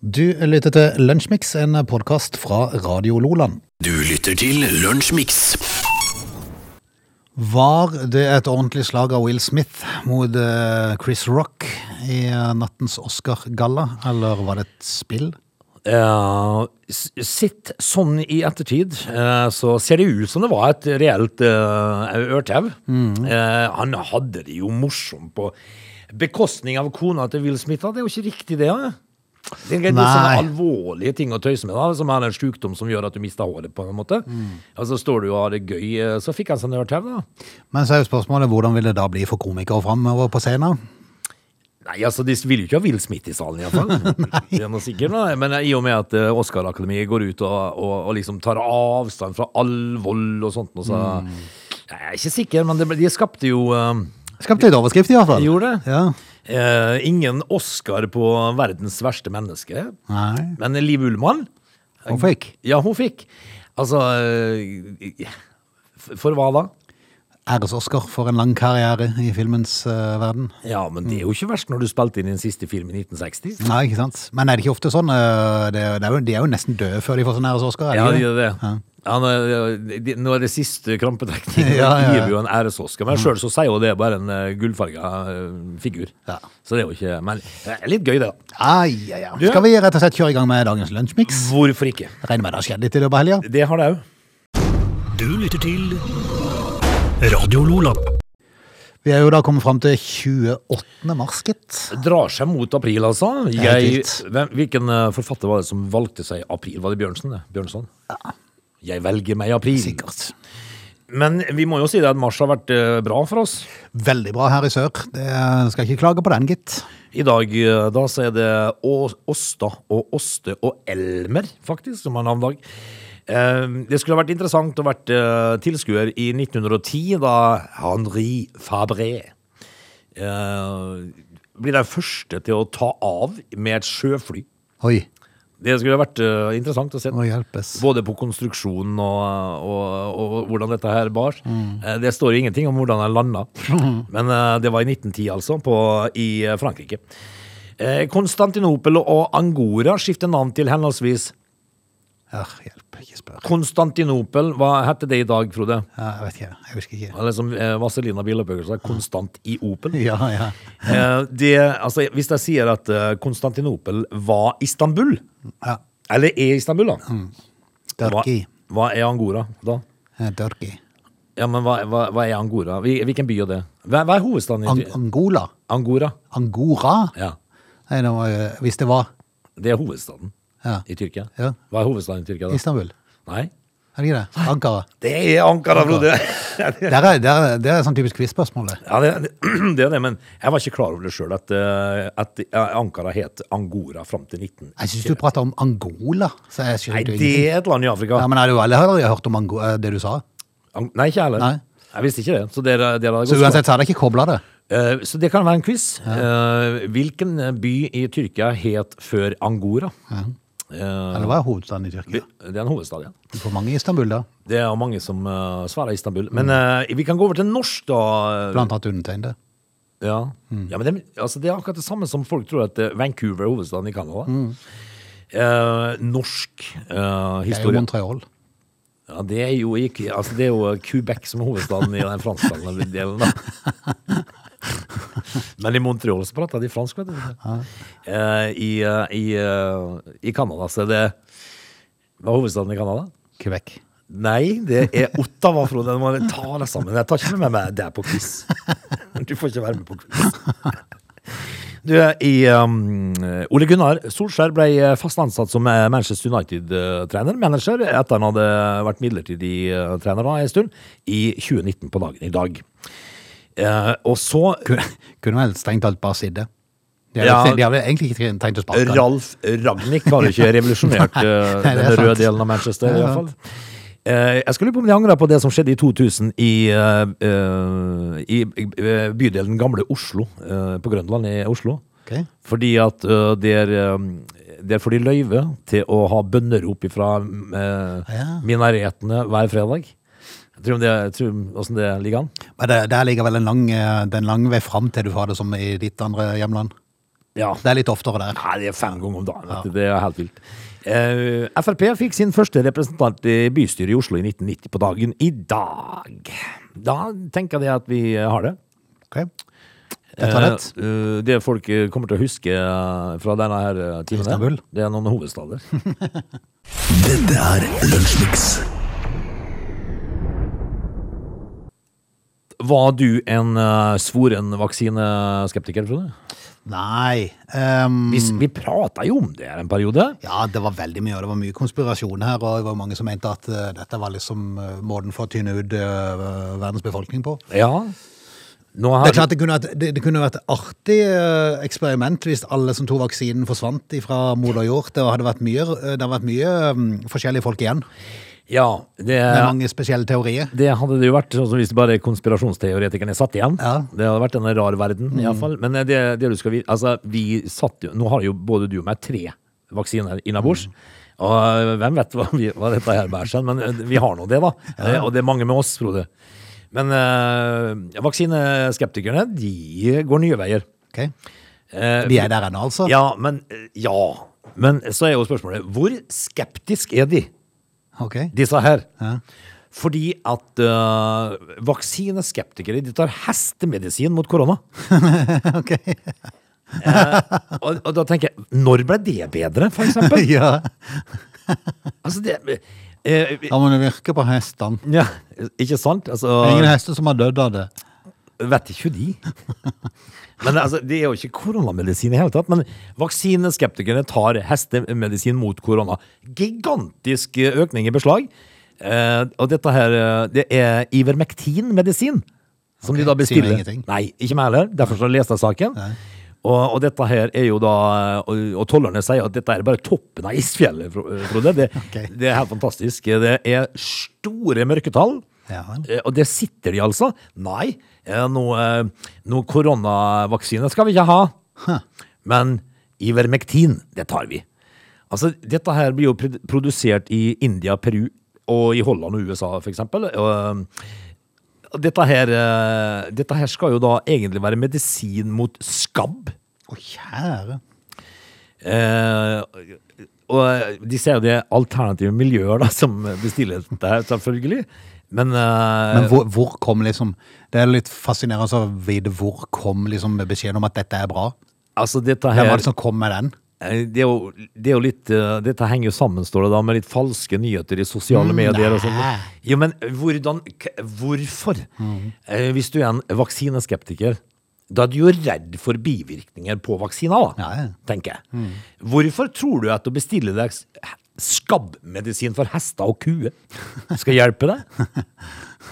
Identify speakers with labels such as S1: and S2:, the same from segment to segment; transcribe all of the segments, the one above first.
S1: Du lytter til Lunsjmix, en podkast fra Radio Loland.
S2: Du lytter til Lunsjmix.
S1: Var det et ordentlig slag av Will Smith mot eh, Chris Rock i eh, nattens Oscar-galla, eller var det et spill?
S3: Eh, s- Sitt sånn i ettertid, eh, så ser det ut som det var et reelt eh, ørtau. Eh, han hadde det jo morsomt på bekostning av kona til Will Smith. da. Det er jo ikke riktig, det. Ja. Det er litt
S1: Nei.
S3: sånne alvorlige ting å tøyse med, da, som er en sykdom som gjør at du mister håret. på en måte. Og så står du og har det gøy. eh, Så fikk han seg en ørtau, da.
S1: Men så er jo spørsmålet hvordan vil det da bli for komikere framover på scenen?
S3: Nei, altså, de vil jo ikke ha Will Smith i salen, iallfall. det er noe sikkert, nei. Men i og med at eh, Oscar-akademiet går ut og, og, og liksom tar avstand fra all vold og sånt, og så Jeg er ikke sikker, men det, ble- de skapte jo eh,
S1: Skapte litt overskrift, i hvert fall.
S3: De gjorde det.
S1: Ja.
S3: eh, ingen Oscar på verdens verste menneske.
S1: Nei,
S3: Men Liv Ullmann,
S1: hun fikk
S3: ja, hun fikk. Altså eh, f- For hva da?
S1: æres-Oscar for en lang karriere i filmens eh, verden.
S3: Ja, men det er jo ikke verst når du spilte inn din siste film i 1960.
S1: Nei, ikke sant? Men er det ikke ofte sånn? eh, Det, det er jo, de er jo nesten døde før de får sånn æres-Oscar. er
S3: Ja,
S1: de
S3: de
S1: ikke
S3: gjør det. Ja. nå- de- nå er det siste krampetrekning.
S1: Ja, ja, Mm. ja.
S3: Det gir vi jo en æresoskar. Men sjøl så sier jo det bare en eh, gullfarga eh, figur.
S1: Ja.
S3: Så det er jo ikke Men det er litt gøy, det. da.
S1: Ai, ja, ja.
S3: Du-
S1: Skal vi rett og slett kjøre i gang med dagens lunsjmix?
S3: Hvorfor ikke?
S1: Regner med det har skjedd litt i løpet av helga.
S3: Det har det òg.
S2: Du lytter til Radio Lola.
S1: Vi er jo da kommet fram til 28. mars, gitt.
S3: Drar seg mot april, altså.
S1: er helt
S3: Jeg,
S1: vilt.
S3: hvem, hvilken eh, forfatter var det som valgte seg april? Var det Bjørnsen? det? Bjørnson? Jeg velger meg april.
S1: Sikkert.
S3: Men vi må jo si det at mars har vært eh, bra for oss.
S1: Veldig bra her i sør. Det skal ikke klage på den, gitt.
S3: I dag eh, da så er det Å- Åsta og Åste og Elmer, faktisk, som har navnedag. Eh, Det skulle ha vært interessant å vært eh, tilskuer i 1910, da Henri Fabré eh, blir den første til å ta av med et sjøfly.
S1: Oi.
S3: Det skulle ha vært eh, interessant å se.
S1: Å hjelpes.
S3: Både på konstruksjonen og, og, og, hvordan dette her bar. Eh, Det står ingenting om hvordan den landa, men eh, det var i 1910, altså, på, i eh, Frankrike. Eh, Konstantinopel og Angora skifter navn til henholdsvis
S1: Her, hjelp. Ikke spør.
S3: Konstantinopel, hva heter det i dag, Frode?
S1: Ja, jeg vet ikke. Jeg husker ikke.
S3: Eller som eh, Vazelina Billebøger sa, Konstant i Opel.
S1: Ja, ja.
S3: Eh, Det, altså, hvis jeg sier at eh, Konstantinopel var Istanbul,
S1: ja.
S3: eller er Istanbul, da, hva,
S1: Dørki.
S3: hva er Angora da?
S1: Eh, Dørki.
S3: Ja, men hva, hva, hva er Angora? Hvil- Hvilken by er det? Hva, hva er hovedstaden i
S1: Ang Angola.
S3: Angora?
S1: Angora?
S3: Ja,
S1: Nei, det var, jo- hvis det var
S3: det er hovedstaden
S1: Ja.
S3: i Tyrkia.
S1: Ja.
S3: Hva er hovedstaden i Tyrkia da?
S1: Istanbul.
S3: Nei?
S1: Er det ikke det? Ankara.
S3: Det er Ankara, Frode!
S1: Der er, der er, det er sånn typisk quiz-spørsmål. det.
S3: Ja, det, det er det, men jeg var ikke klar over det sjøl, at, eh, at eh, Ankara het Angora fram til 19...
S1: Jeg syns du prater om Angola. Så jeg skjønner
S3: Nei,
S1: jo
S3: det
S1: ingenting.
S3: er et land i Afrika.
S1: ja, Men jeg hadde jo aldri aldri hørt om Ango eh, det du sa.
S3: Ang nei, ikke jeg heller.
S1: Nei.
S3: Jeg visste ikke det. Så dere, dere hadde
S1: Så
S3: gått
S1: uansett så hadde jeg ikke kobla det.
S3: Eh, Så det kan være en quiz. Eh, Hvilken by i Tyrkia het før Angora? Eh,
S1: Eller var det hovedstaden i Tyrkia?
S3: Det er en hovedstad, ja.
S1: Du får mange i Istanbul, da.
S3: Det er jo mange som eh, svarer Istanbul. Men eh, vi kan gå over til norsk, da. eh,
S1: Blant annet undertegnede.
S3: Ja.
S1: Mm.
S3: ja, men det, altså, det er akkurat det samme som folk tror at eh, Vancouver er hovedstaden i Canada. Eh, norsk eh,
S1: Mm. Det er jo
S3: historie.
S1: Montreal.
S3: Ja, det er jo ikke Altså, det er jo Quebec som er hovedstaden i den fransktalende delen, da. Men i Montreal så prater de fransk, vet du. Eh, I eh, i, eh, i Canada så er det Hva er hovedstaden i Canada?
S1: Quebec.
S3: Nei, det er Ottawa, Frode. Du må ta deg sammen. Jeg tar ikke med meg deg på quiz. Du får ikke være med på quiz. Du, i, um, Ole Gunnar Solskjær ble fast ansatt som eh, Manchester United-trener, manager, etter han hadde vært midlertidig eh, trener da en stund, i 2019 på dagen i dag. Eh, og så
S1: Kunne, kunne vel strengt talt bare sitte. De hadde,
S3: Ja.
S1: ikke- de hadde egentlig ikke tenkt å sparke han.
S3: Ralf Ragnhild har jo ikke revolusjonert
S1: Nei,
S3: eh,
S1: nei, det er
S3: den røde
S1: sant.
S3: delen av Manchester,
S1: Det er
S3: i hvert fall. Eh, jeg skulle lure på om de angrer på det som skjedde i 2000 i, eh, eh, i eh, bydelen Gamle Oslo, eh, på Grønland i Oslo.
S1: Ok.
S3: Fordi at eh, der, eh, der får de løyve til å ha bønnerop fra
S1: Ah, Ja.
S3: eh, minaretene hver fredag. Jeg tror, det, jeg tror hvordan det ligger an.
S1: Men det, der ligger vel en lang, eh, det er en lang vei fram til du har det som i ditt andre hjemland.
S3: Ja.
S1: Det er litt oftere der.
S3: Nei, det er fem ganger om dagen. vet du. Det er helt vilt. Eh, Frp fikk sin første representant i bystyret i Oslo i 1990 på dagen i dag. Da tenker jeg at vi eh, har det.
S1: Ok. Dette er rett.
S3: Eh, eh, det folk eh, kommer til å huske eh, fra denne her eh, timen, her,
S1: Istanbul.
S3: det er noen hovedstader.
S2: Dette er Lunsjmix.
S3: Var du en eh, svoren vaksineskeptiker, Frode?
S1: Nei. ehm,
S3: Vi, vi prata jo om det her en periode.
S1: ja, det var veldig mye, og det var mye konspirasjon her, og det var mange som mente at eh, dette var liksom eh, måten for å tynne ut eh, verdens befolkning på.
S3: Ja. Nå
S1: Det
S3: har
S1: er klart det kunne vært, det, det kunne vært et artig eh, eksperiment hvis alle som tok vaksinen forsvant fra moder jord. Det hadde vært mye, eh, det hadde vært mye mm, forskjellige folk igjen,
S3: Ja, det
S1: med mange spesielle teorier.
S3: Det hadde det jo vært sånn som hvis det bare konspirasjonsteoretikerne satt igjen.
S1: Ja.
S3: Det hadde vært en rar verden, i alle fall. Men det, det du skal vite Altså, vi satt jo Nå har jo både du og meg tre vaksiner innabords. Og eh, hvem vet hva, vi, hva dette her bærer seg, men vi har nå det, da. Eh, Og det er mange med oss, Frode. Men eh, vaksineskeptikerne, de går nye veier.
S1: Ok?
S3: Eh,
S1: Vi er der ennå, altså.
S3: Ja, men eh, Ja. Men så er jo spørsmålet hvor skeptisk er de?
S1: Ok.
S3: disse her.
S1: Ja.
S3: Fordi at øh, vaksineskeptikere de tar hestemedisin mot korona.
S1: Ok.
S3: Og, og da tenker jeg, når ble det bedre, for eksempel?
S1: ja.
S3: altså, det, eh, eh,
S1: Da må det virke på hestene.
S3: ja, ikke sant? Altså,
S1: Det er Ingen hester som har dødd av det.
S3: vet ikke de. Men altså, det er jo ikke koronamedisin i hele tatt. Men vaksineskeptikerne tar hestemedisin mot korona. Gigantisk eh, økning i beslag. Eh, og dette her, eh, det er ivermektin-medisin. Som de da
S1: Ok, sier meg
S3: bestiller.
S1: ingenting.
S3: Nei, ikke meg heller. Derfor så leste jeg saken. Og, og dette her er jo da Og, og tollerne sier at dette er bare toppen av isfjellet, Fro- Frode. Det,
S1: Ok.
S3: det er helt fantastisk. Det er store mørketall.
S1: Ja vel.
S3: Eh, Og der sitter de altså. Nei, eh, noe, eh, noe koronavaksine skal vi ikke ha. Men Ivermektin, det tar vi. Altså, dette her blir jo produ- produsert i India, Peru og i Holland og USA, for eksempel. Og, eh, dette her, eh, dette her skal jo da egentlig være medisin mot skabb.
S1: Å, kjære.
S3: Eh, og eh, de ser jo det er alternative miljøer da, som bestiller dette her, selvfølgelig. Men, eh,
S1: Men hvor, hvor kom liksom Det er litt fascinerende å vite hvor kom liksom beskjeden om at dette er bra.
S3: altså dette her
S1: Hvem var det som kom med den?
S3: Eh, Det er jo, det er jo litt eh, Dette henger jo sammen, står det da, med litt falske nyheter i sosiale medier. og
S1: Mm, nei. Mm.
S3: sånt. Jo, men hvordan k- Hvorfor? Eh, Hvis du er en vaksineskeptiker, da er du jo redd for bivirkninger på vaksiner, da,
S1: Ja, Mm. ja.
S3: tenker jeg. Hvorfor tror du at å bestille deg s- skabbmedisin for hester og kuer skal hjelpe deg?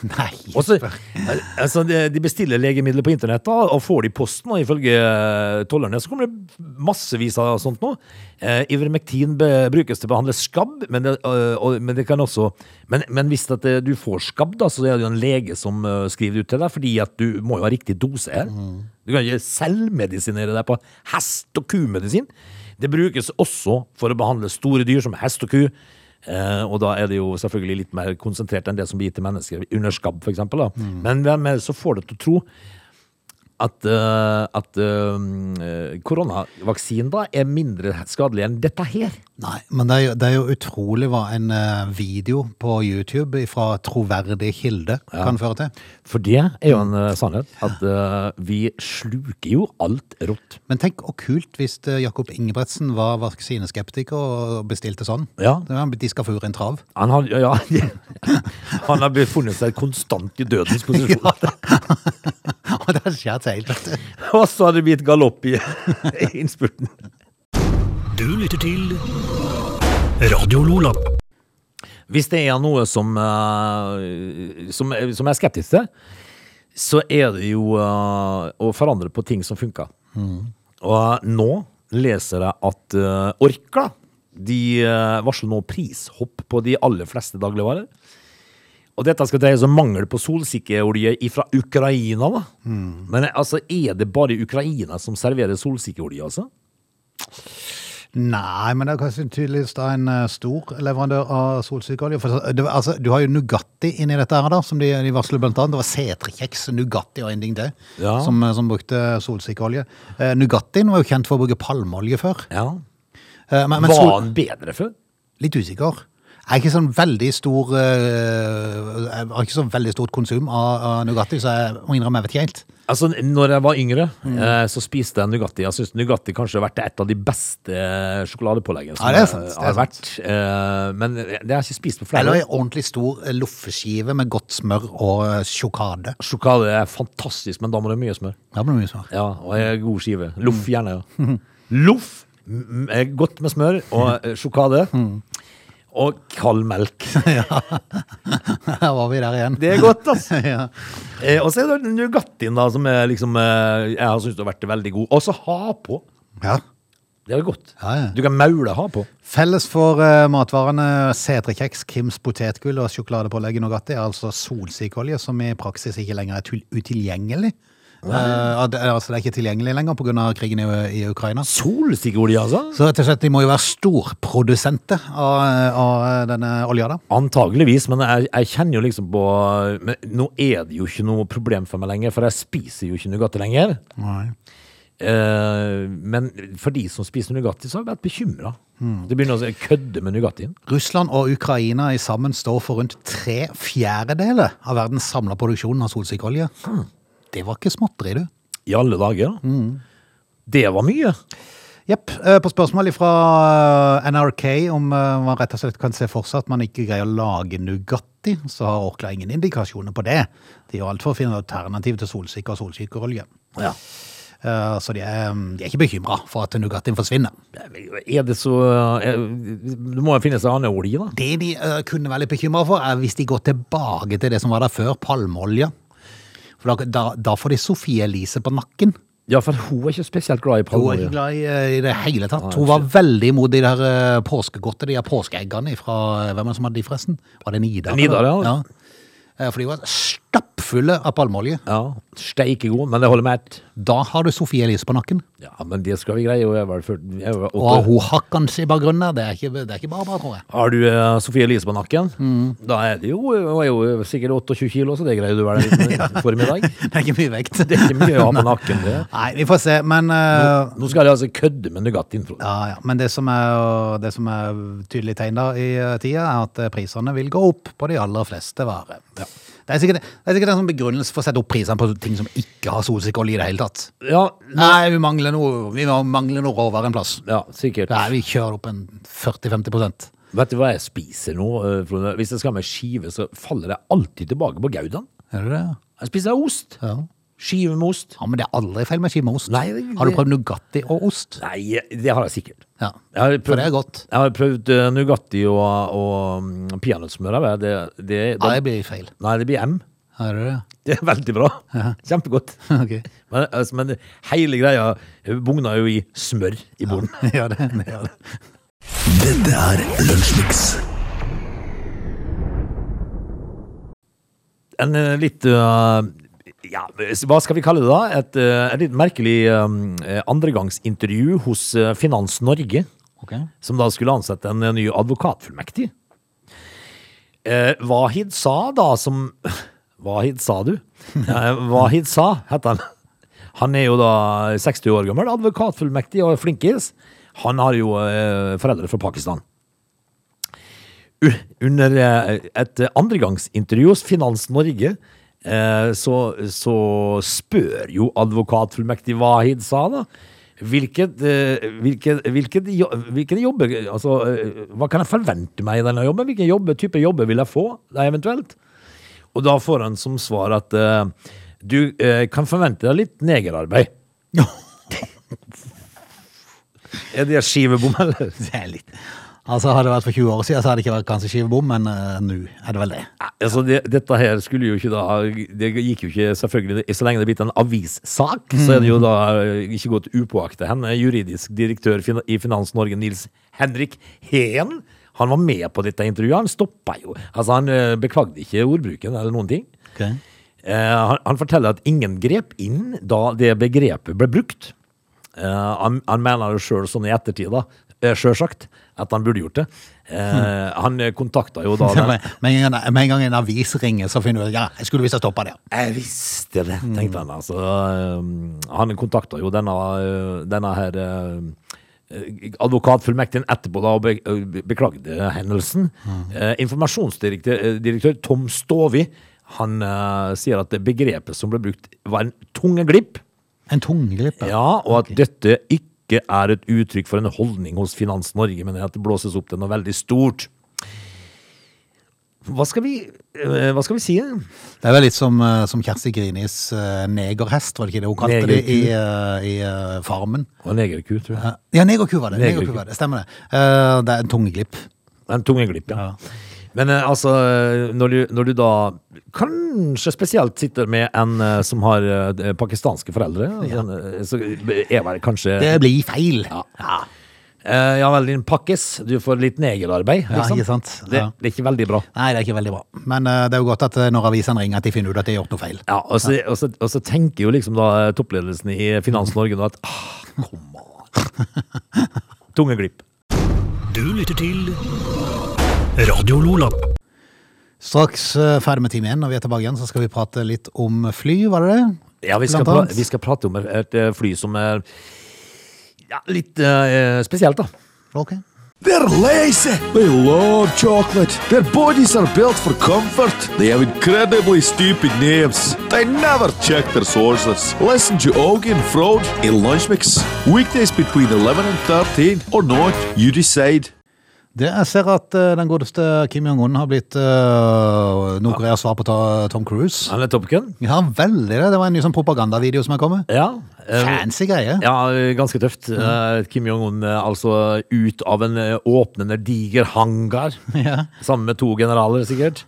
S1: Nei.
S3: Og så- al- altså, de de bestiller legemidler på internett da, og får det i posten, og ifølge eh, tollerne så kommer det massevis av sånt nå. Eh, Ivermektin be, brukes til å behandle skabb, men det, eh, og, men det kan også Men, men hvis at eh, du får skabb, da, så er det jo en lege som eh, skriver det ut til deg, fordi at du må jo ha riktig dose her. Du kan ikke selvmedisinere deg på hest- og kumedisin. Det brukes også for å behandle store dyr som hest og ku. Eh, og da er det jo selvfølgelig litt mer konsentrert enn det som blir gitt til mennesker under skabb, f.eks. Mm. Men hvem er det som får deg til å tro at, eh, at eh, koronavaksinen da er mindre skadelig enn dette her?
S1: Nei, men det er, jo, det er jo utrolig hva en eh, video på YouTube fra troverdig kilde kan føre til.
S3: For det er jo en eh, sannhet. At eh, vi sluker jo alt rått.
S1: Men tenk og kult hvis eh, Jakob Ingebretsen var vaksineskeptiker og bestilte sånn.
S3: Ja.
S1: Da hadde De skal få ur en trav.
S3: Han har, ja, han har befunnet seg konstant i dødens posisjon.
S1: Og det har skjedd seg helt. vet du.
S3: Og så har det blitt galopp i i innspurten.
S2: Du lytter til Radio Lola.
S3: Hvis det er noe som, eh, som, som jeg er skeptisk til, så er det jo eh, å forandre på ting som funker.
S1: Mm.
S3: Og nå leser jeg at eh, Orkla de eh, varsler nå prishopp på de aller fleste dagligvarer. Og dette skal dreie seg om mangel på solsikkeolje fra Ukraina, da.
S1: Mm.
S3: Men altså, er det bare Ukraina som serverer solsikkeolje, altså?
S1: Nei, men det er kanskje tydeligvis da en eh, stor leverandør av solsikkeolje. For så- det, var- altså, du har jo Nugatti inni dette her, da, som de, de varsler blant annet. Det var setrekjeks, Nugatti og en ting til,
S3: Ja.
S1: som, eh, som brukte solsikkeolje. Eh, Nugattien var jo kjent for å bruke palmeolje før.
S3: Ja.
S1: Eh, men, men
S3: Var
S1: sol,
S3: han bedre før?
S1: litt usikker. Jeg er ikke sånn veldig stor eh, Jeg har ikke så veldig stort konsum av, av Nugatti, så jeg må innrømme jeg vet ikke helt.
S3: Altså, når jeg var yngre,
S1: Mm.
S3: eh, så spiste jeg Nugatti. Jeg syns Nugatti kanskje har vært et av de beste eh, sjokoladepåleggene som
S1: Ja, det er sant, det er
S3: har
S1: sant.
S3: vært. Eh, Men det har jeg ikke spist på flere
S1: Eller
S3: år.
S1: ei ordentlig stor eh, loffeskive med godt smør og eh, sjokade.
S3: Sjokolade er fantastisk, men da må det mye smør.
S1: Da blir det mye smør.
S3: Ja, og en god skive. Loff
S1: Mm.
S3: gjerne, ja. Loff! m- m- er Godt med smør og
S1: Mm.
S3: eh, sjokolade. Og kald melk.
S1: Her var vi der igjen.
S3: Det er godt, altså.
S1: ja.
S3: Eh, og så er det Nugattien, da, som er liksom eh, Jeg har syntes det har vært veldig god. Og så ha på.
S1: ja.
S3: Det er godt.
S1: Ja, ja.
S3: Du kan maule ha på.
S1: Felles for eh, matvarene setrekjeks, Kims potetgull og sjokoladepålegg i Nugatti er altså solsikkeolje, som i praksis ikke lenger er tul- utilgjengelig. Eh, at- altså Det er ikke tilgjengelig lenger pga. krigen i, i Ukraina.
S3: Solsikkeolje, altså?
S1: Så rett og slett, de må jo være storprodusenter av, av eh, denne olja, da.
S3: Antageligvis, men jeg, jeg kjenner jo liksom på Men nå er det jo ikke noe problem for meg lenger, for jeg spiser jo ikke Nugatti lenger. Eh, men for de som spiser Nugatti, så har jeg vært bekymra.
S1: Hmm.
S3: Det begynner å se- kødde med Nugattien.
S1: Russland og Ukraina i sammen står for rundt tre fjerdedeler av verdens samla produksjon av solsikkeolje. Det var ikke småtteri, du.
S3: I alle dager.
S1: Hmm.
S3: Det var mye.
S1: Jepp. eh, På spørsmål fra eh, NRK om eh, man rett og slett kan se for seg at man ikke greier å lage Nugatti, så har Orkla ingen indikasjoner på det. De gjør alt for å finne alternativ til solsikker og solsikkerolje.
S3: Ja.
S1: Eh, Så de er, de er ikke bekymra for at Nugattien forsvinner.
S3: Er det så er, Det må jo finnes en annen olje, da.
S1: Det de eh, kunne være litt bekymra for, er hvis de går tilbake til det som var der før, palmeolje. For da, da, da får de Sofie Elise på nakken.
S3: Ja, for hun er ikke spesielt glad i
S1: Hun var ikke
S3: palmeolje.
S1: glad i, eh, i det hele tatt. Hun var veldig imot de der eh, påskegodtet, de der påskeeggene fra eh, Hvem er det som hadde de, forresten? Var det Nidar?
S3: Nidar,
S1: eller?
S3: ja.
S1: Eh, For de var stappfulle av palmeolje.
S3: Ja, Steike god, men det holder med ett.
S1: Da har du Sofie Elise på nakken.
S3: Ja, men det skal vi greie. Og jeg var ført, jeg var
S1: Og
S3: åtte.
S1: hun hakkende i bakgrunnen der, det er ikke, det er ikke bare bra, tror jeg.
S3: Har du eh, Sofie Elise på nakken?
S1: Mm.
S3: Da er det jo, hun er jo sikkert 28 kilo, så det greier du vel en liten formiddag.
S1: Det er ikke mye vekt.
S3: Det er ikke mye å ha på nakken, det.
S1: Nei, vi får se, men eh,
S3: Nå skal jeg altså kødde med Nugattien. Frode.
S1: ja, ja. Men det som er, det som er tydelig tegn da i eh, tida, er at eh, prisene vil gå opp på de aller fleste varer. Det er sikkert, det er sikkert en sånn begrunnelse for å sette opp prisene på ting som ikke har solsikkeolje i det hele tatt.
S3: Ja,
S1: Nei, vi mangler noe, vi mangler noe råvare en plass.
S3: ja, sikkert.
S1: Nei, vi kjører opp en 40-50 prosent.
S3: Vet du hva jeg spiser nå, eh, Frode? Hvis jeg skal med skive, så faller jeg alltid tilbake på Gaudan.
S1: Er det det?
S3: Jeg spiser ost.
S1: Ja.
S3: Skive med ost.
S1: ja, men det er aldri feil med skive med ost.
S3: Nei, det-
S1: Har du prøvd Nugatti og ost?
S3: Nei, det har jeg sikkert.
S1: Ja,
S3: Jeg har
S1: for det er
S3: prøvd,
S1: godt.
S3: jeg har prøvd eh, Nugatti og, og mm, peanøttsmør. jeg vet. Det, det,
S1: Ja, det blir feil.
S3: Nei, det blir M.
S1: Er det det?
S3: Det er veldig bra. Kjempegodt.
S1: Ok.
S3: Men, altså, men hele greia eh, bugna jo i smør i bunnen.
S1: Ja, det, det gjør det.
S2: Dette er Lunsjmix.
S3: En eh, litt eh, ja, hva skal vi kalle det da? Et, eh, et litt merkelig eh, andregangsintervju hos eh, Finans Norge,
S1: Ok.
S3: som da skulle ansette en eh, ny advokatfullmektig. Eh, Wahid sa da som Wahid sa du? Eh, Wahid sa, heter han. Han er jo da 60 år gammel, advokatfullmektig og flinkis. Han har jo eh, foreldre fra Pakistan. U- Under eh, et andregangsintervju hos Finans Norge eh, så, så spør jo advokatfullmektig Wahid sa da hvilket, eh, hvilket, hvilket, jo- hvilken jobber, altså, eh, Hva kan jeg forvente meg i denne jobben? Hvilken jobbe, type jobber vil jeg få da eventuelt? Og da får han som svar at eh, du eh, kan forvente deg litt negerarbeid. Er det skivebom, eller?
S1: Det er litt... Altså, hadde det vært for 20 år siden, så hadde det ikke vært kanskje skivebom, men eh, nå er det vel det.
S3: Ja, Altså, det, dette her skulle jo ikke da Det gikk jo ikke, selvfølgelig det- Så lenge det er blitt en avissak, så er det jo da eh, ikke gått upåaktet hen. Juridisk direktør fin- i Finans Norge, Nils Henrik Heen, han var med på dette intervjuet. Han stoppa jo. Altså, han eh, beklagde ikke ordbruken eller noen ting. Eh, han, han forteller at ingen grep inn da det begrepet ble brukt. Eh, han, han mener det sjøl sånn i ettertid, da. eh, sjølsagt at han burde gjort det. Eh, han kontakta jo da den-
S1: Med med en gang- med en gang en avis ringer, så finner du ut ja, jeg skulle visst ha stoppa det.
S3: Jeg visste det, tenkte han. Altså, Um, han kontakta jo denne, uh, denne her uh, advokatfullmektigen etterpå da, og be uh, beklagde hendelsen. Uh, Informasjonsdirektør uh, direktør Tom Stovi han uh, sier at det begrepet som ble brukt, var en tungeglipp.
S1: En tungeglipp. ja.
S3: Ja, og at dette ikke er et uttrykk for en holdning hos Finans Norge, men at det blåses opp til noe veldig stort. Hva skal vi, uh, hva skal vi si?
S1: Det er vel litt som, eh, som Kjersti Grinis eh, negerhest, var det ikke det hun kalte det i, eh, i eh, Farmen?
S3: Og en egerku, tror jeg.
S1: Eh, Ja, negerku var det.
S3: Negerku.
S1: Negerku var det. Stemmer det. Eh, det er en tungeglipp.
S3: En tungeglipp, ja. Men eh, altså, eh, når du, når du da kanskje spesielt sitter med en eh, som har eh, pakistanske foreldre, sånn, eh, så er vel kanskje
S1: Det blir feil.
S3: Ja. Eh, ja vel, din pakkis. Du får litt negerarbeid.
S1: Ja,
S3: liksom.
S1: ikke sant?
S3: Det,
S1: Ja.
S3: det er ikke veldig bra.
S1: Nei, det er ikke veldig bra. Men eh, det er jo godt at eh, når avisen ringer, at de finner ut at de har gjort noe feil.
S3: Ja, og, så, og, så, og så tenker jo liksom da eh, toppledelsen i Finans Norge nå at ah, kom an. Tungeglipp.
S2: Du lytter til Radio Lola.
S1: Straks eh, ferdig med time én, når vi er tilbake igjen, så skal vi prate litt om fly, var det det?
S3: Ja, vi skal,
S1: Blant
S3: pra
S1: annet.
S3: vi skal prate om et eh, fly som er ja, litt eh, spesielt, da.
S1: Ok.
S4: They're lazy. They love chocolate. Their bodies are built for comfort. They have incredibly stupid names. They never check their sources. Listen to Augie and Frode in Lunch Mix. Weekdays between 11 and 13 or not, you decide.
S1: Det, jeg ser at eh, den godeste Kim Jong-un har blitt uh, Nord-Koreas svar på ta- Tom Cruise.
S3: Han er Top Gun?
S1: Ja, veldig det. Det var en ny sånn propagandavideo som er kommet.
S3: Ja. eh,
S1: Fancy greie.
S3: ja, ganske tøft.
S1: Mm.
S3: Eh, Kim Jong-un eh, altså ut av en eh, åpnende diger hangar.
S1: Ja.
S3: Sammen med to generaler, sikkert.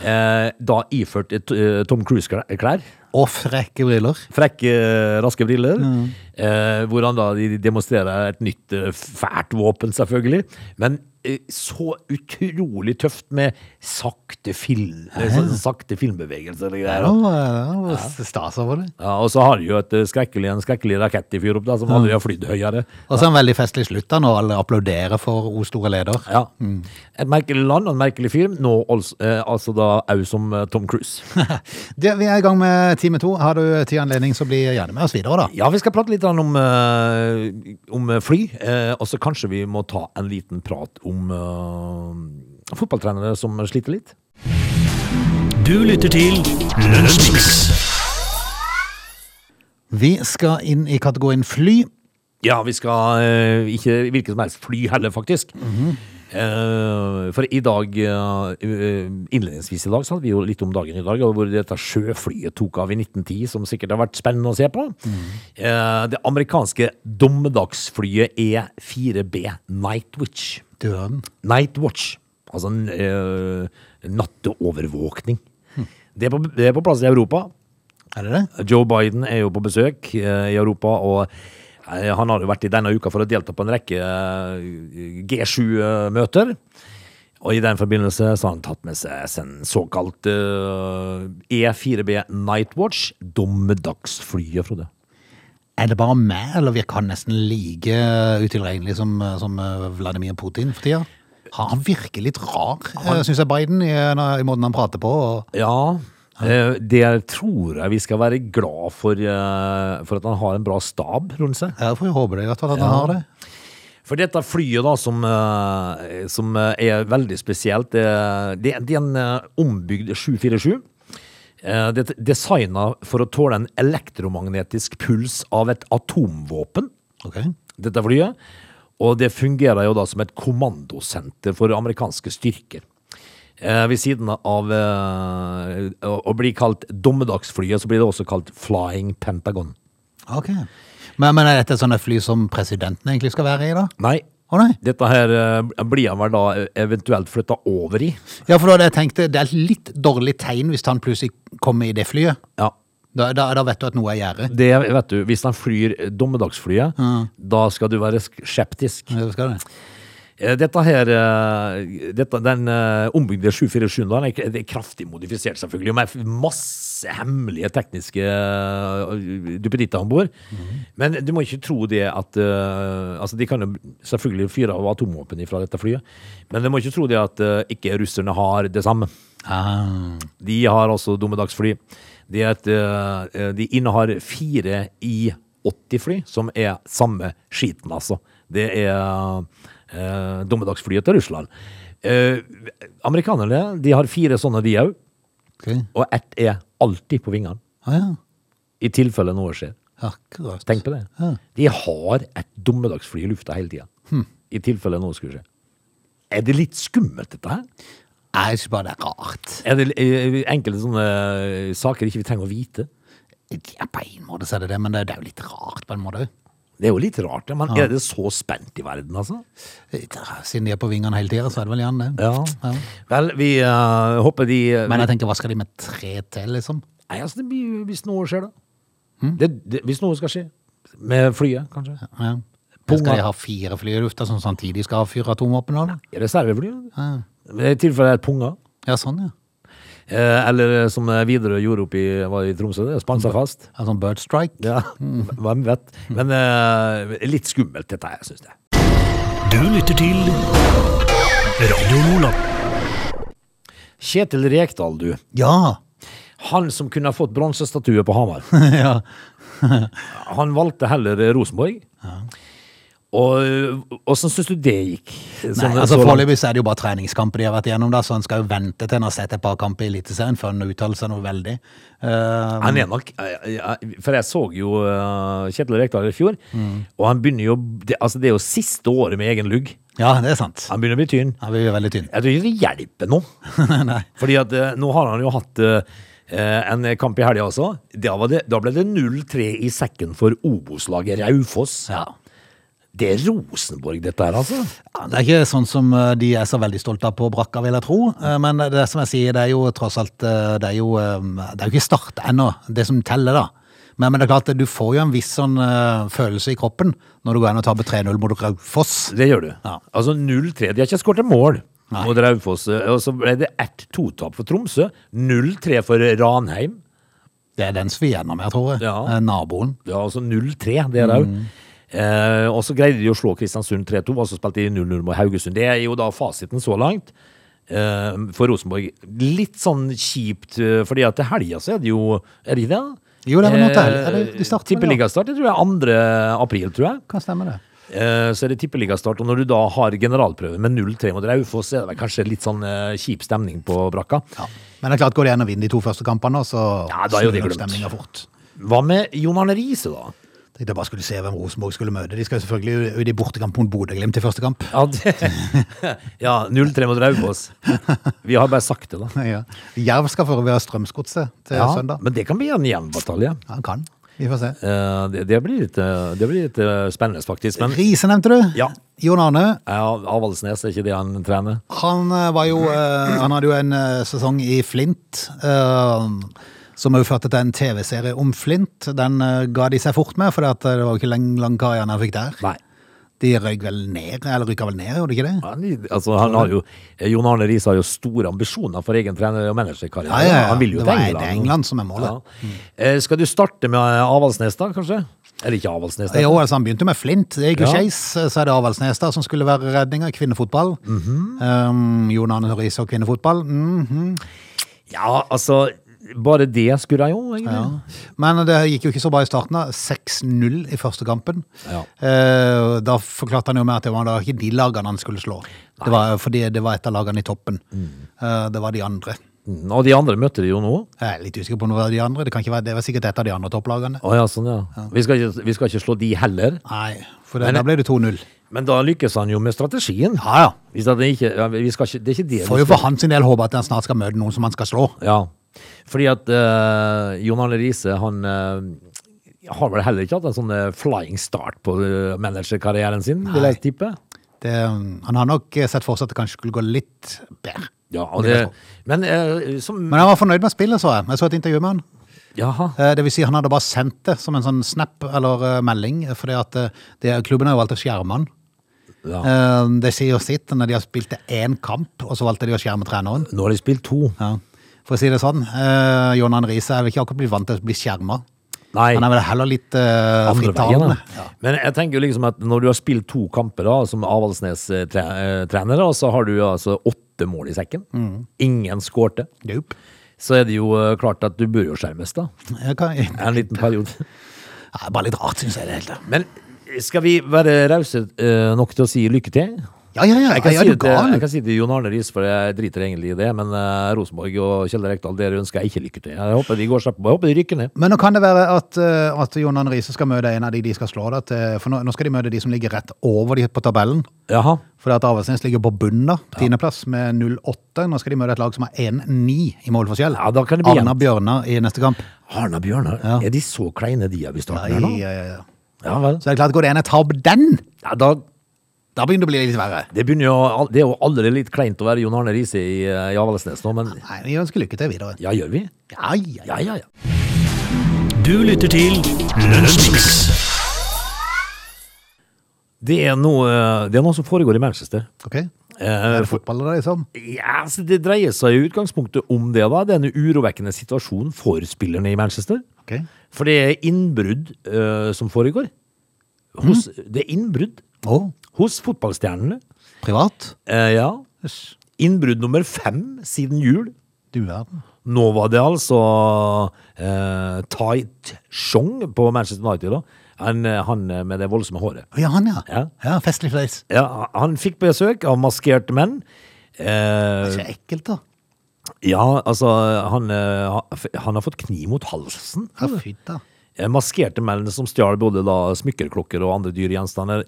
S3: Eh, da iført et, eh, Tom Cruise-klær.
S1: Og frekke briller.
S3: Frekke, eh, raske briller.
S1: Mm.
S3: Eh, hvor han da de demonstrerer et nytt eh, fælt våpen, selvfølgelig. Men eh, så utrolig tøft med sakte, film, eh, sånn sakte filmbevegelser og greier.
S1: Ja, ja, Stas over det.
S3: Ja, og så har de jo et eh, skrekkelig, en skrekkelig rakett i fyr opp, da, som aldri har flydd høyere.
S1: Og så en veldig festlig slutt da, når alle applauderer for O store leder.
S3: Ja. Mm. Et merkelig land og en merkelig film, nå altså, eh, altså da au som eh, Tom Cruise.
S1: Det, vi er i gang med time to. Har du tid og anledning, så bli gjerne med oss videre, da.
S3: Ja, vi skal prate litt grann om, eh, om eh, fly, eh, og så kanskje vi må ta en liten prat om eh, fotballtrenere som sliter litt.
S2: Du lytter til Lunsjmix.
S1: Vi skal inn i kategorien fly.
S3: Ja, vi skal eh, ikke hvilket som helst fly heller, faktisk. Eh, for i dag, eh, eh, innledningsvis i dag, så hadde vi jo litt om dagen i dag, og hvor dette sjøflyet tok av i 1910, som sikkert har vært spennende å se på. Eh, det amerikanske dommedagsflyet E E4B Nightwitch.
S1: Døden.
S3: Nightwatch, altså en, eh, natteovervåkning. Det, er på, det er på plass i Europa.
S1: Er det det?
S3: Joe Biden er jo på besøk eh, i Europa, og eh, han har jo vært i denne uka for å delta på en rekke G7-møter. Og i den forbindelse så har han tatt med seg en såkalt eh, E4B Nightwatch, dommedagsflyet, Frode.
S1: Er det bare meg, eller virker han nesten like utilregnelig som, som eh, Vladimir Putin for tida? Har han virker litt rar, syns jeg, Biden, i, i måten han prater på. Og,
S3: Ja, eh, det tror jeg vi skal være glad for, eh, for at han har en bra stab rundt seg.
S1: ja, får jo håpe det, i hvert fall, at han har det.
S3: For dette flyet da, som, eh, som eh, er veldig spesielt, det, det, det er en eh, ombygd 747. Eh, Det er designet for å tåle en elektromagnetisk puls av et atomvåpen,
S1: Ok.
S3: dette flyet. Og det fungerer jo da som et kommandosenter for amerikanske styrker. Eh, Ved siden av eh, å å bli kalt dommedagsflyet, så blir det også kalt Flying Pentagon.
S1: Ok. Men, men er dette sånne fly som presidenten egentlig skal være i, da?
S3: Nei,
S1: Å nei?
S3: dette her eh, blir han vel da eventuelt flyttet over i.
S1: Ja, for da hadde jeg tenkt det er et litt dårlig tegn hvis han plutselig kommer i det flyet.
S3: Ja,
S1: Da, da, da vet du at noe er gjerdet.
S3: det vet du. Hvis han flyr dommedagsflyet, da skal du være sk- skeptisk.
S1: Ja, det skal det.
S3: Eh, Dette her, eh, dette, den eh, ombygde 747 den er, k- det er kraftig modifisert selvfølgelig, og med f- masse hemmelige tekniske eh, duppeditter om bord. Men du må ikke tro det at, eh, altså de kan jo selvfølgelig fyre av atomvåpen fra dette flyet, men du må ikke tro det at eh, ikke russerne har det samme.
S1: Ah,
S3: De har altså dommedagsfly. Det er et, eh, de innehar fire I-80-fly, som er samme skiten, altså. Det er eh, dommedagsflyet til Russland. Eh, amerikanerne de har fire sånne, de òg.
S1: ok.
S3: Og ett er alltid på vingene,
S1: Ah, ja.
S3: i tilfelle noe skjer.
S1: Akkurat.
S3: Tenk på det.
S1: Ja.
S3: De har et dommedagsfly i lufta hele tida, i tilfelle noe skulle skje. Er det litt skummelt, dette her?
S1: Jeg synes bare det er rart.
S3: Er det eh, enkelte sånne eh, saker ikke vi trenger å vite?
S1: Ja, på en måte så er det det, men det er jo litt rart på en måte.
S3: Det er jo litt rart, ja, men er det så spent i verden, altså?
S1: Siden de er på vingene hele tida, så er det vel gjerne det. Ja.
S3: Vel, vi eh, håper de
S1: Men jeg tenker, hva skal de med tre til, liksom?
S3: Nei, altså, det blir, jo- hvis noe skjer, da. Det, det, hvis noe skal skje. Med flyet, kanskje.
S1: Hm? Ja.
S3: Punga.
S1: Skal de ha fire fly i lufta sånn som samtidig skal avfyre atomvåpen? da, eller?
S3: Reserveflyet.
S1: Ja.
S3: I tilfelle det er et punga.
S1: ja, sånn, ja.
S3: Eh, eller som Widerøe gjorde opp i, var det i Tromsø, det spant seg fast.
S1: Ja, Sånn bird strike?
S3: Ja,
S1: Mm.
S3: Hvem vet. Men eh, litt skummelt, dette her, syns jeg.
S2: Du lytter til Radio Lola.
S3: Kjetil Rekdal, du.
S1: Ja!
S3: Han som kunne ha fått bronsestatue på Hamar.
S1: ja.
S3: Han valgte heller Rosenborg. Og åssen syns du det gikk?
S1: Nei,
S3: Sånn-
S1: altså
S3: så langt.
S1: Foreløpig så er det jo bare treningskamper de har vært igjennom, da, så han skal jo vente til han har sett et par kamper i Eliteserien før han uttaler seg noe veldig. Eh,
S3: han er nok eh, eh, For jeg så jo eh, Kjetil Rekdal i fjor,
S1: Mm.
S3: og han begynner jo det, Altså, det er jo siste året med egen lugg.
S1: ja, det er sant.
S3: Han begynner å bli tynn.
S1: Han blir jo veldig tynn.
S3: Jeg tror ikke det hjelper nå.
S1: Nei.
S3: Fordi at eh, nå har han jo hatt eh, en kamp i helga også. Da, var det, da ble det 0-3 i sekken for Obos-laget Raufoss.
S1: Ja.
S3: Det er Rosenborg, dette her, altså.
S1: Ja, Det er ikke sånn som eh, de er så veldig stolte av på brakka, vil jeg tro. Eh, Men det er som jeg sier, det er jo tross alt eh, Det er jo, eh, det er jo ikke start ennå, det som teller, da. Men, men det er klart, at du får jo en viss sånn eh, følelse i kroppen når du går inn og taper 3-0 mot Raufoss.
S3: Det gjør du.
S1: Ja.
S3: Altså 0-3. De har ikke skåret mål
S1: Nei.
S3: mot Raufoss. Og så ble det 1-2-tap for Tromsø. 0-3 for Ranheim.
S1: Det er den som vi er gjennom her, tror jeg.
S3: Ja.
S1: Eh, Naboen.
S3: Det var altså 0-3, det er det òg. Eh, og så greide de å slå Kristiansund 3-2, og så spilte de 0-0 mot Haugesund. Det er jo da fasiten så langt eh, for Rosenborg. Litt sånn kjipt, eh, fordi at til helga så er det jo Er det ikke det?
S1: Jo, det er vel nå til helga. Er det- de starter vel, ja.
S3: Tippeligastart, det tror jeg. 2. april, tror jeg.
S1: Kan stemme det.
S3: Eh, Så er det tippeligastart, og når du da har generalprøve med 0-3 mot Raufoss, så er det vel kanskje litt sånn eh, kjip stemning på brakka.
S1: Ja. Men det er klart, går de inn og vinner de to første kampene, så
S3: Ja, da er jo det
S1: snur
S3: glemt.
S1: stemninga fort.
S3: Hva med Jon Arne Riise, da?
S1: Tenkte jeg bare skulle se hvem Rosenborg skulle møte. De skal jo selvfølgelig ut i bortekamp mot Bodø-Glimt i første kamp.
S3: Ja, det- ja 0-3 mot Raufoss. Vi har bare sagt det, da.
S1: Ja. Jerv skal forevere Strømsgodset til
S3: Ja,
S1: søndag.
S3: men det kan bli en jevnbatalje.
S1: Ja, han kan. Vi får se.
S3: Eh, Det, det blir litt, eh, det blir litt eh, spennende, faktisk. Men
S1: Riise nevnte du.
S3: Ja.
S1: Jon Arne.
S3: ja, Avaldsnes, er ikke det han trener?
S1: Han eh, var jo eh, Han hadde jo en eh, sesong i Flint. eh, som også førte til en TV-serie om Flint. Den eh, ga de seg fort med, for det var jo ikke lang, lang karriere han fikk der.
S3: Nei.
S1: De røyk vel ned, eller rykka vel ned, gjorde de ikke det?
S3: Han, altså, han har jo, eh, Jon Arne Riise har jo store ambisjoner for egen trener- og managerkarriere.
S1: Ja, ja, ja.
S3: Han vil jo
S1: Det
S3: til
S1: var-
S3: England.
S1: det er England som er målet.
S3: Ja. Eh, Skal du starte med eh, Avaldsnes, da, kanskje? Eller ikke Avaldsnes? da.
S1: Jo, altså han begynte med Flint. Det gikk jo
S3: Ja.
S1: skeis. eh, Så er det Avaldsnes da, som skulle være redninga i kvinnefotball.
S3: Mhm.
S1: um, Jon Arne Riise og kvinnefotball. Mhm.
S3: Ja, altså Bare det skulle jeg jo, egentlig.
S1: ja. Men det gikk jo ikke så bra i starten. da. 6-0 i første kampen.
S3: Ja.
S1: Eh, da forklarte han jo med at det var da ikke de lagene han skulle slå. Det var fordi det var et av lagene i toppen. Eh, det var de andre.
S3: Mm, Og de andre møtte de jo nå.
S1: Jeg er litt usikker på om det var de andre. Det, kan ikke være, det var sikkert et av de andre topplagene.
S3: Å ja, sånn, ja. Vi, skal ikke, vi skal ikke slå de heller.
S1: Nei, for det,
S3: Men-
S1: da ble det 2-0.
S3: Men da lykkes han jo med strategien.
S1: Ja ja.
S3: Hvis at det, ikke, ja, vi skal ikke, det er ikke det vi
S1: Får jo
S3: skal-
S1: for hans del håpe at han snart skal møte noen som han skal slå.
S3: Ja, fordi at eh, Jon Arne Riise, han eh, har vel heller ikke hatt en sånn eh, flying start på eh, managerkarrieren sin, vil jeg tippe.
S1: det, han har nok sett for seg at det kanskje skulle gå litt bedre.
S3: Ja, og
S1: Vil
S3: det,
S1: jeg
S3: men eh, som
S1: Men han var fornøyd med spillet, så jeg. Jeg så et intervju med han.
S3: Jaha.
S1: Eh, Det vil si, han hadde bare eh, sendt det som en sånn snap eller eh, melding, fordi at eh, det, klubben har jo valgt å skjerme han.
S3: Ja.
S1: Eh, Det sier jo sitt når de har spilt én kamp, og så valgte de å skjerme treneren.
S3: Nå har de spilt to.
S1: Ja. For å si det sånn, eh, John Arne Riise er vel ikke akkurat blitt vant til å bli skjerma.
S3: Nei.
S1: Han er vel heller litt uh,
S3: andre veien.
S1: frittalende.
S3: da. Men jeg tenker jo liksom at når du har spilt to kamper da, som Avaldsnes eh, tre eh, trener, da, så har du jo altså åtte mål i sekken. Ingen skårte.
S1: Nope. Eh,
S3: Så er det jo eh, klart at du bør jo skjermes, da.
S1: Jeg kan- Ja,
S3: En liten periode.
S1: Det er bare litt rart, syns jeg. det hele.
S3: Men skal vi være rause eh, nok til å si lykke til?
S1: Ja, ja, ja.
S3: Jeg kan,
S1: ja,
S3: si
S1: er du
S3: det til, jeg
S1: gal?
S3: kan si det til Jon Arne Riis, for jeg driter egentlig i det. Men eh, Rosenborg og Kjell Rekdal, dere ønsker jeg ikke lykke til. Jeg håper de går slapp Jeg håper de rykker ned.
S1: Men nå kan det være at, eh, at John Arne Riise skal møte en av de de skal slå. Da, til, for nå, nå skal de møte de som ligger rett over de på tabellen.
S3: Jaha.
S1: Fordi at Avaldsnes ligger på bunnen, da. Tiendeplass med 0-8. Nå skal de møte et lag som har 1-9 i målforskjell.
S3: Ja, da kan det bli
S1: Arna Bjørnar i neste kamp.
S3: Arna Bjørnar,
S1: Ja.
S3: er de så kleine de er i starten her nå?
S1: Nei, ja, ja, ja.
S3: Ja, vel.
S1: eh, Så det er klart, går det an å tape den,
S3: Ja, da
S1: da begynner det å bli litt verre.
S3: Det, begynner jo, all- det er jo aldri litt kleint å være Jon Arne Riise i, eh, i Avaldsnes nå, men
S1: Nei, vi ønsker lykke til videre.
S3: ja, gjør vi?
S1: Ja, ja, ja.
S3: Ja, ja, ja.
S2: Du lytter til Lunsjmix.
S3: Det er noe, eh, det er noe som foregår i Manchester.
S1: Ok. Er
S3: Eh,
S1: det fotball da, liksom?
S3: ja, så det dreier seg i utgangspunktet om det, da. Denne urovekkende situasjonen for spillerne i Manchester.
S1: Ok.
S3: For det er innbrudd eh, som foregår. Hos, Det er innbrudd
S1: Å,
S3: hos fotballstjernene.
S1: privat?
S3: Eh, ja.
S1: Yes.
S3: Innbrudd nummer fem siden jul.
S1: Du verden.
S3: Nå var det altså eh, Tai Chong på Manchester United, da. Han, eh, han med det voldsomme håret.
S1: Å, ja, han ja.
S3: Ja.
S1: Ja, festlig fleis.
S3: Ja, han fikk besøk av maskerte menn.
S1: Det
S3: Eh,
S1: er ikke ekkelt, da.
S3: ja, altså han, eh, ha- han har fått kniv mot halsen.
S1: Ja, fy da.
S3: Eh, Maskerte menn som stjal både da smykkerklokker og andre dyre gjenstander.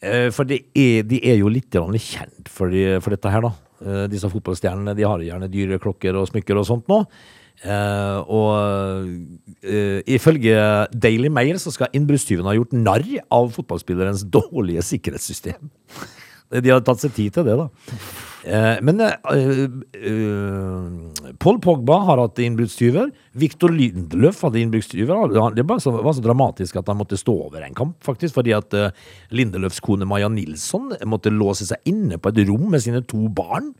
S3: Eh, For det er, de er jo litt grann kjent for, de, for dette her, da. Eh, Disse fotballstjernene de har gjerne dyre klokker og smykker og sånt nå. Eh, og eh, ifølge Daily Mail så skal innbruddstyven ha gjort narr av fotballspillerens dårlige sikkerhetssystem. De har tatt seg tid til det, da. Eh, men eh, eh, Paul Pogba har hatt innbruddstyver. Victor Lindeløf hadde innbruddstyver. Han- Det var så, var så dramatisk at han måtte stå over en kamp, faktisk, fordi at eh, Lindeløfs kone Maja Nilsson måtte låse seg inne på et rom med sine to barn.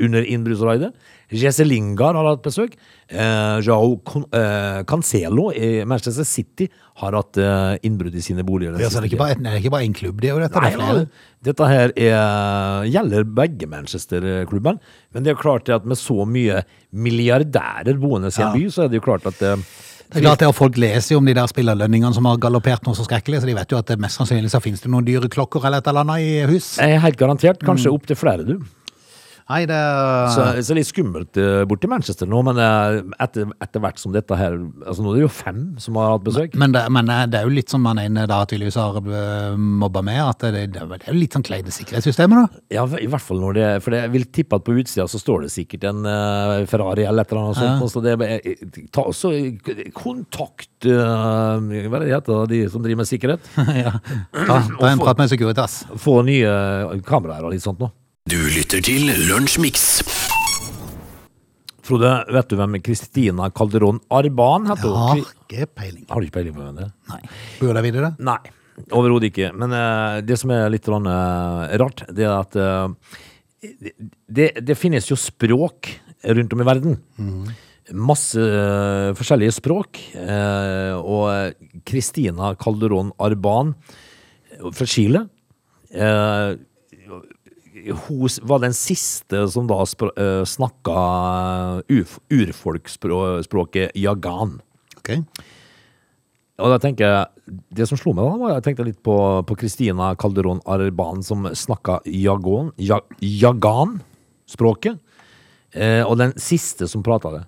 S3: Under innbruddsraidet. Jesse Lingard har hatt besøk. Eh, Joao Con eh, Cancelo i Manchester City har hatt eh, innbrudd i sine boliger. den
S1: Ja, så det
S3: siste
S1: er ikke bare,
S3: tiden.
S1: nei, det er ikke bare en klubb, det er jo dette.
S3: Nei,
S1: det er
S3: nei,
S1: flere.
S3: dette her er, gjelder begge Manchester-klubbene. Men det er jo klart det at med så mye milliardærer boende i
S1: Ja.
S3: en by, så er det jo klart at eh,
S1: Det er klart det, og Folk leser jo om de der spillerlønningene som har galoppert noe så skrekkelig, så de vet jo at det mest sannsynlig så finnes det noen dyre klokker eller et eller annet i hus.
S3: jeg er helt garantert
S1: Mm.
S3: kanskje opptil flere, du.
S1: Nei, det er...
S3: Så, så litt skummelt eh, borti Manchester nå, men eh, etter, etter hvert som dette her Altså nå er det jo fem som har hatt besøk.
S1: Men det, men eh, det er jo litt som han ene da tydeligvis har øh, mobba med, at det, det er jo litt sånn kleine sikkerhetssystemet, da.
S3: Ja, i hvert fall når det For jeg vil tippe at på utsida så står det sikkert en eh, Ferrari eller et eller annet sånt. Så det, er- eh, ta også kontakt eh, Hva er det de heter, da, de som driver med sikkerhet?
S1: ja. Ta, ta en prat med Securitas.
S3: få nye kameraer og litt sånt nå.
S2: Du lytter til Lunsjmix.
S3: Frode, vet du hvem Kristina Calderón Arban heter?
S1: Har
S3: hun? Kri-
S1: ikke peiling.
S3: Har du ikke peiling på hvem det er?
S1: Nei. Burde jeg vite det?
S3: Nei, overhodet ikke. Men eh, det som er litt grann, eh, rart, det er at eh, det, det finnes jo språk rundt om i verden. Masse eh, forskjellige språk. eh, og Kristina Calderón Arban fra Chile eh, hun s- var den siste som da spr eh, snakka uf- urfolksspråket jagan.
S1: Ok.
S3: Og da tenker jeg, Det som slo meg, da, var jeg tenkte litt på, på Christina Calderón Arban, som snakka jagon, ja, jagan-språket. Eh, og den siste som prata det.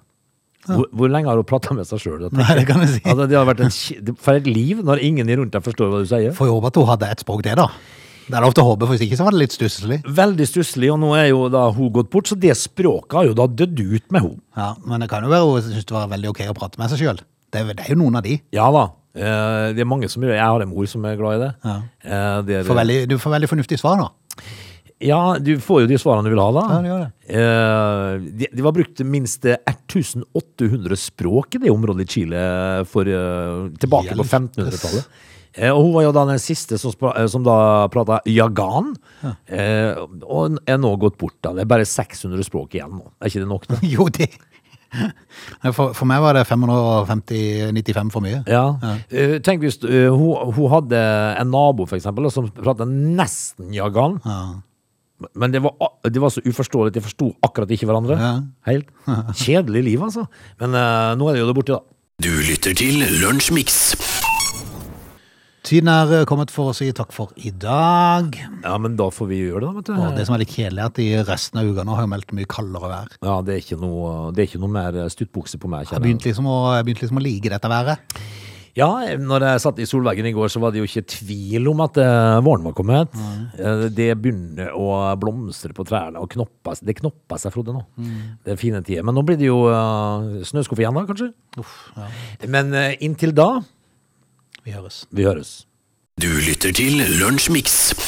S3: Hvor, hvor lenge har hun prata med seg sjøl?
S1: Nei, det kan du si.
S3: Altså, det har vært en, kj- for et liv når ingen i rundt deg forstår hva du sier.
S1: Får jo håpe at hun hadde et språk, det, da. Det er lov til å håpe, for hvis ikke så var det litt stusslig.
S3: Veldig stusslig, og nå er jo da hun gått bort, så det språket har jo da dødd ut med henne.
S1: Ja, men det kan jo være hun syntes det var veldig ok å prate med seg sjøl. Det, er- det er jo noen av de.
S3: Ja da. Eh, det er mange som gjør Jeg har en mor som er glad i det.
S1: Ja.
S3: Eh, det er,
S1: Får veldig, du får veldig fornuftig svar, da.
S3: Ja, du får jo de svarene du vil ha, da.
S1: Ja, du gjør det.
S3: Eh, de, de var brukt minst 1800 språk i det området i Chile for, eh, tilbake på
S1: Hjelpes.
S3: 1500-tallet. Eh, og hun var jo da den siste som, spra, eh, som da prata jagan, eh, og er nå gått bort. da. Det er bare 600 språk igjen nå. Er ikke det nok, da?
S1: Jo, det for, for meg var det 595 for mye.
S3: Ja. Eh, tenk hvis eh, hun, hun hadde en nabo, for eksempel, som prata nesten jagan. Men det var, a- det var så uforståelig. De forsto akkurat ikke hverandre.
S1: Ja.
S3: Helt Kjedelig liv, altså. Men eh, nå er det jo det borti, da.
S2: Du lytter til Lunsjmix.
S1: Tiden er eh, kommet for å si takk for i dag.
S3: Ja, men da får vi gjøre det, da,
S1: Og
S3: vet
S1: det
S3: du.
S1: som er litt kjedelig, er at i resten av uka nå har jo meldt mye kaldere vær.
S3: Ja, det er ikke noe, det er ikke noe mer stuttbukse på meg.
S1: Jeg
S3: kjenner jeg.
S1: begynte liksom å, jeg begynte liksom å like dette været.
S3: Ja, når jeg satt i solveggen i går, så var det jo ikke tvil om at eh, våren var kommet. Eh, Det begynner å blomstre på trærne, og knoppa, det knoppa seg, Frode, nå.
S1: Mm.
S3: Det er fine tider. Men nå blir det jo eh, snøskuff igjen, da, kanskje.
S1: Uff, ja,
S3: Men eh, inntil da,
S1: vi høres.
S3: vi høres.
S2: Du lytter til Lunsjmix.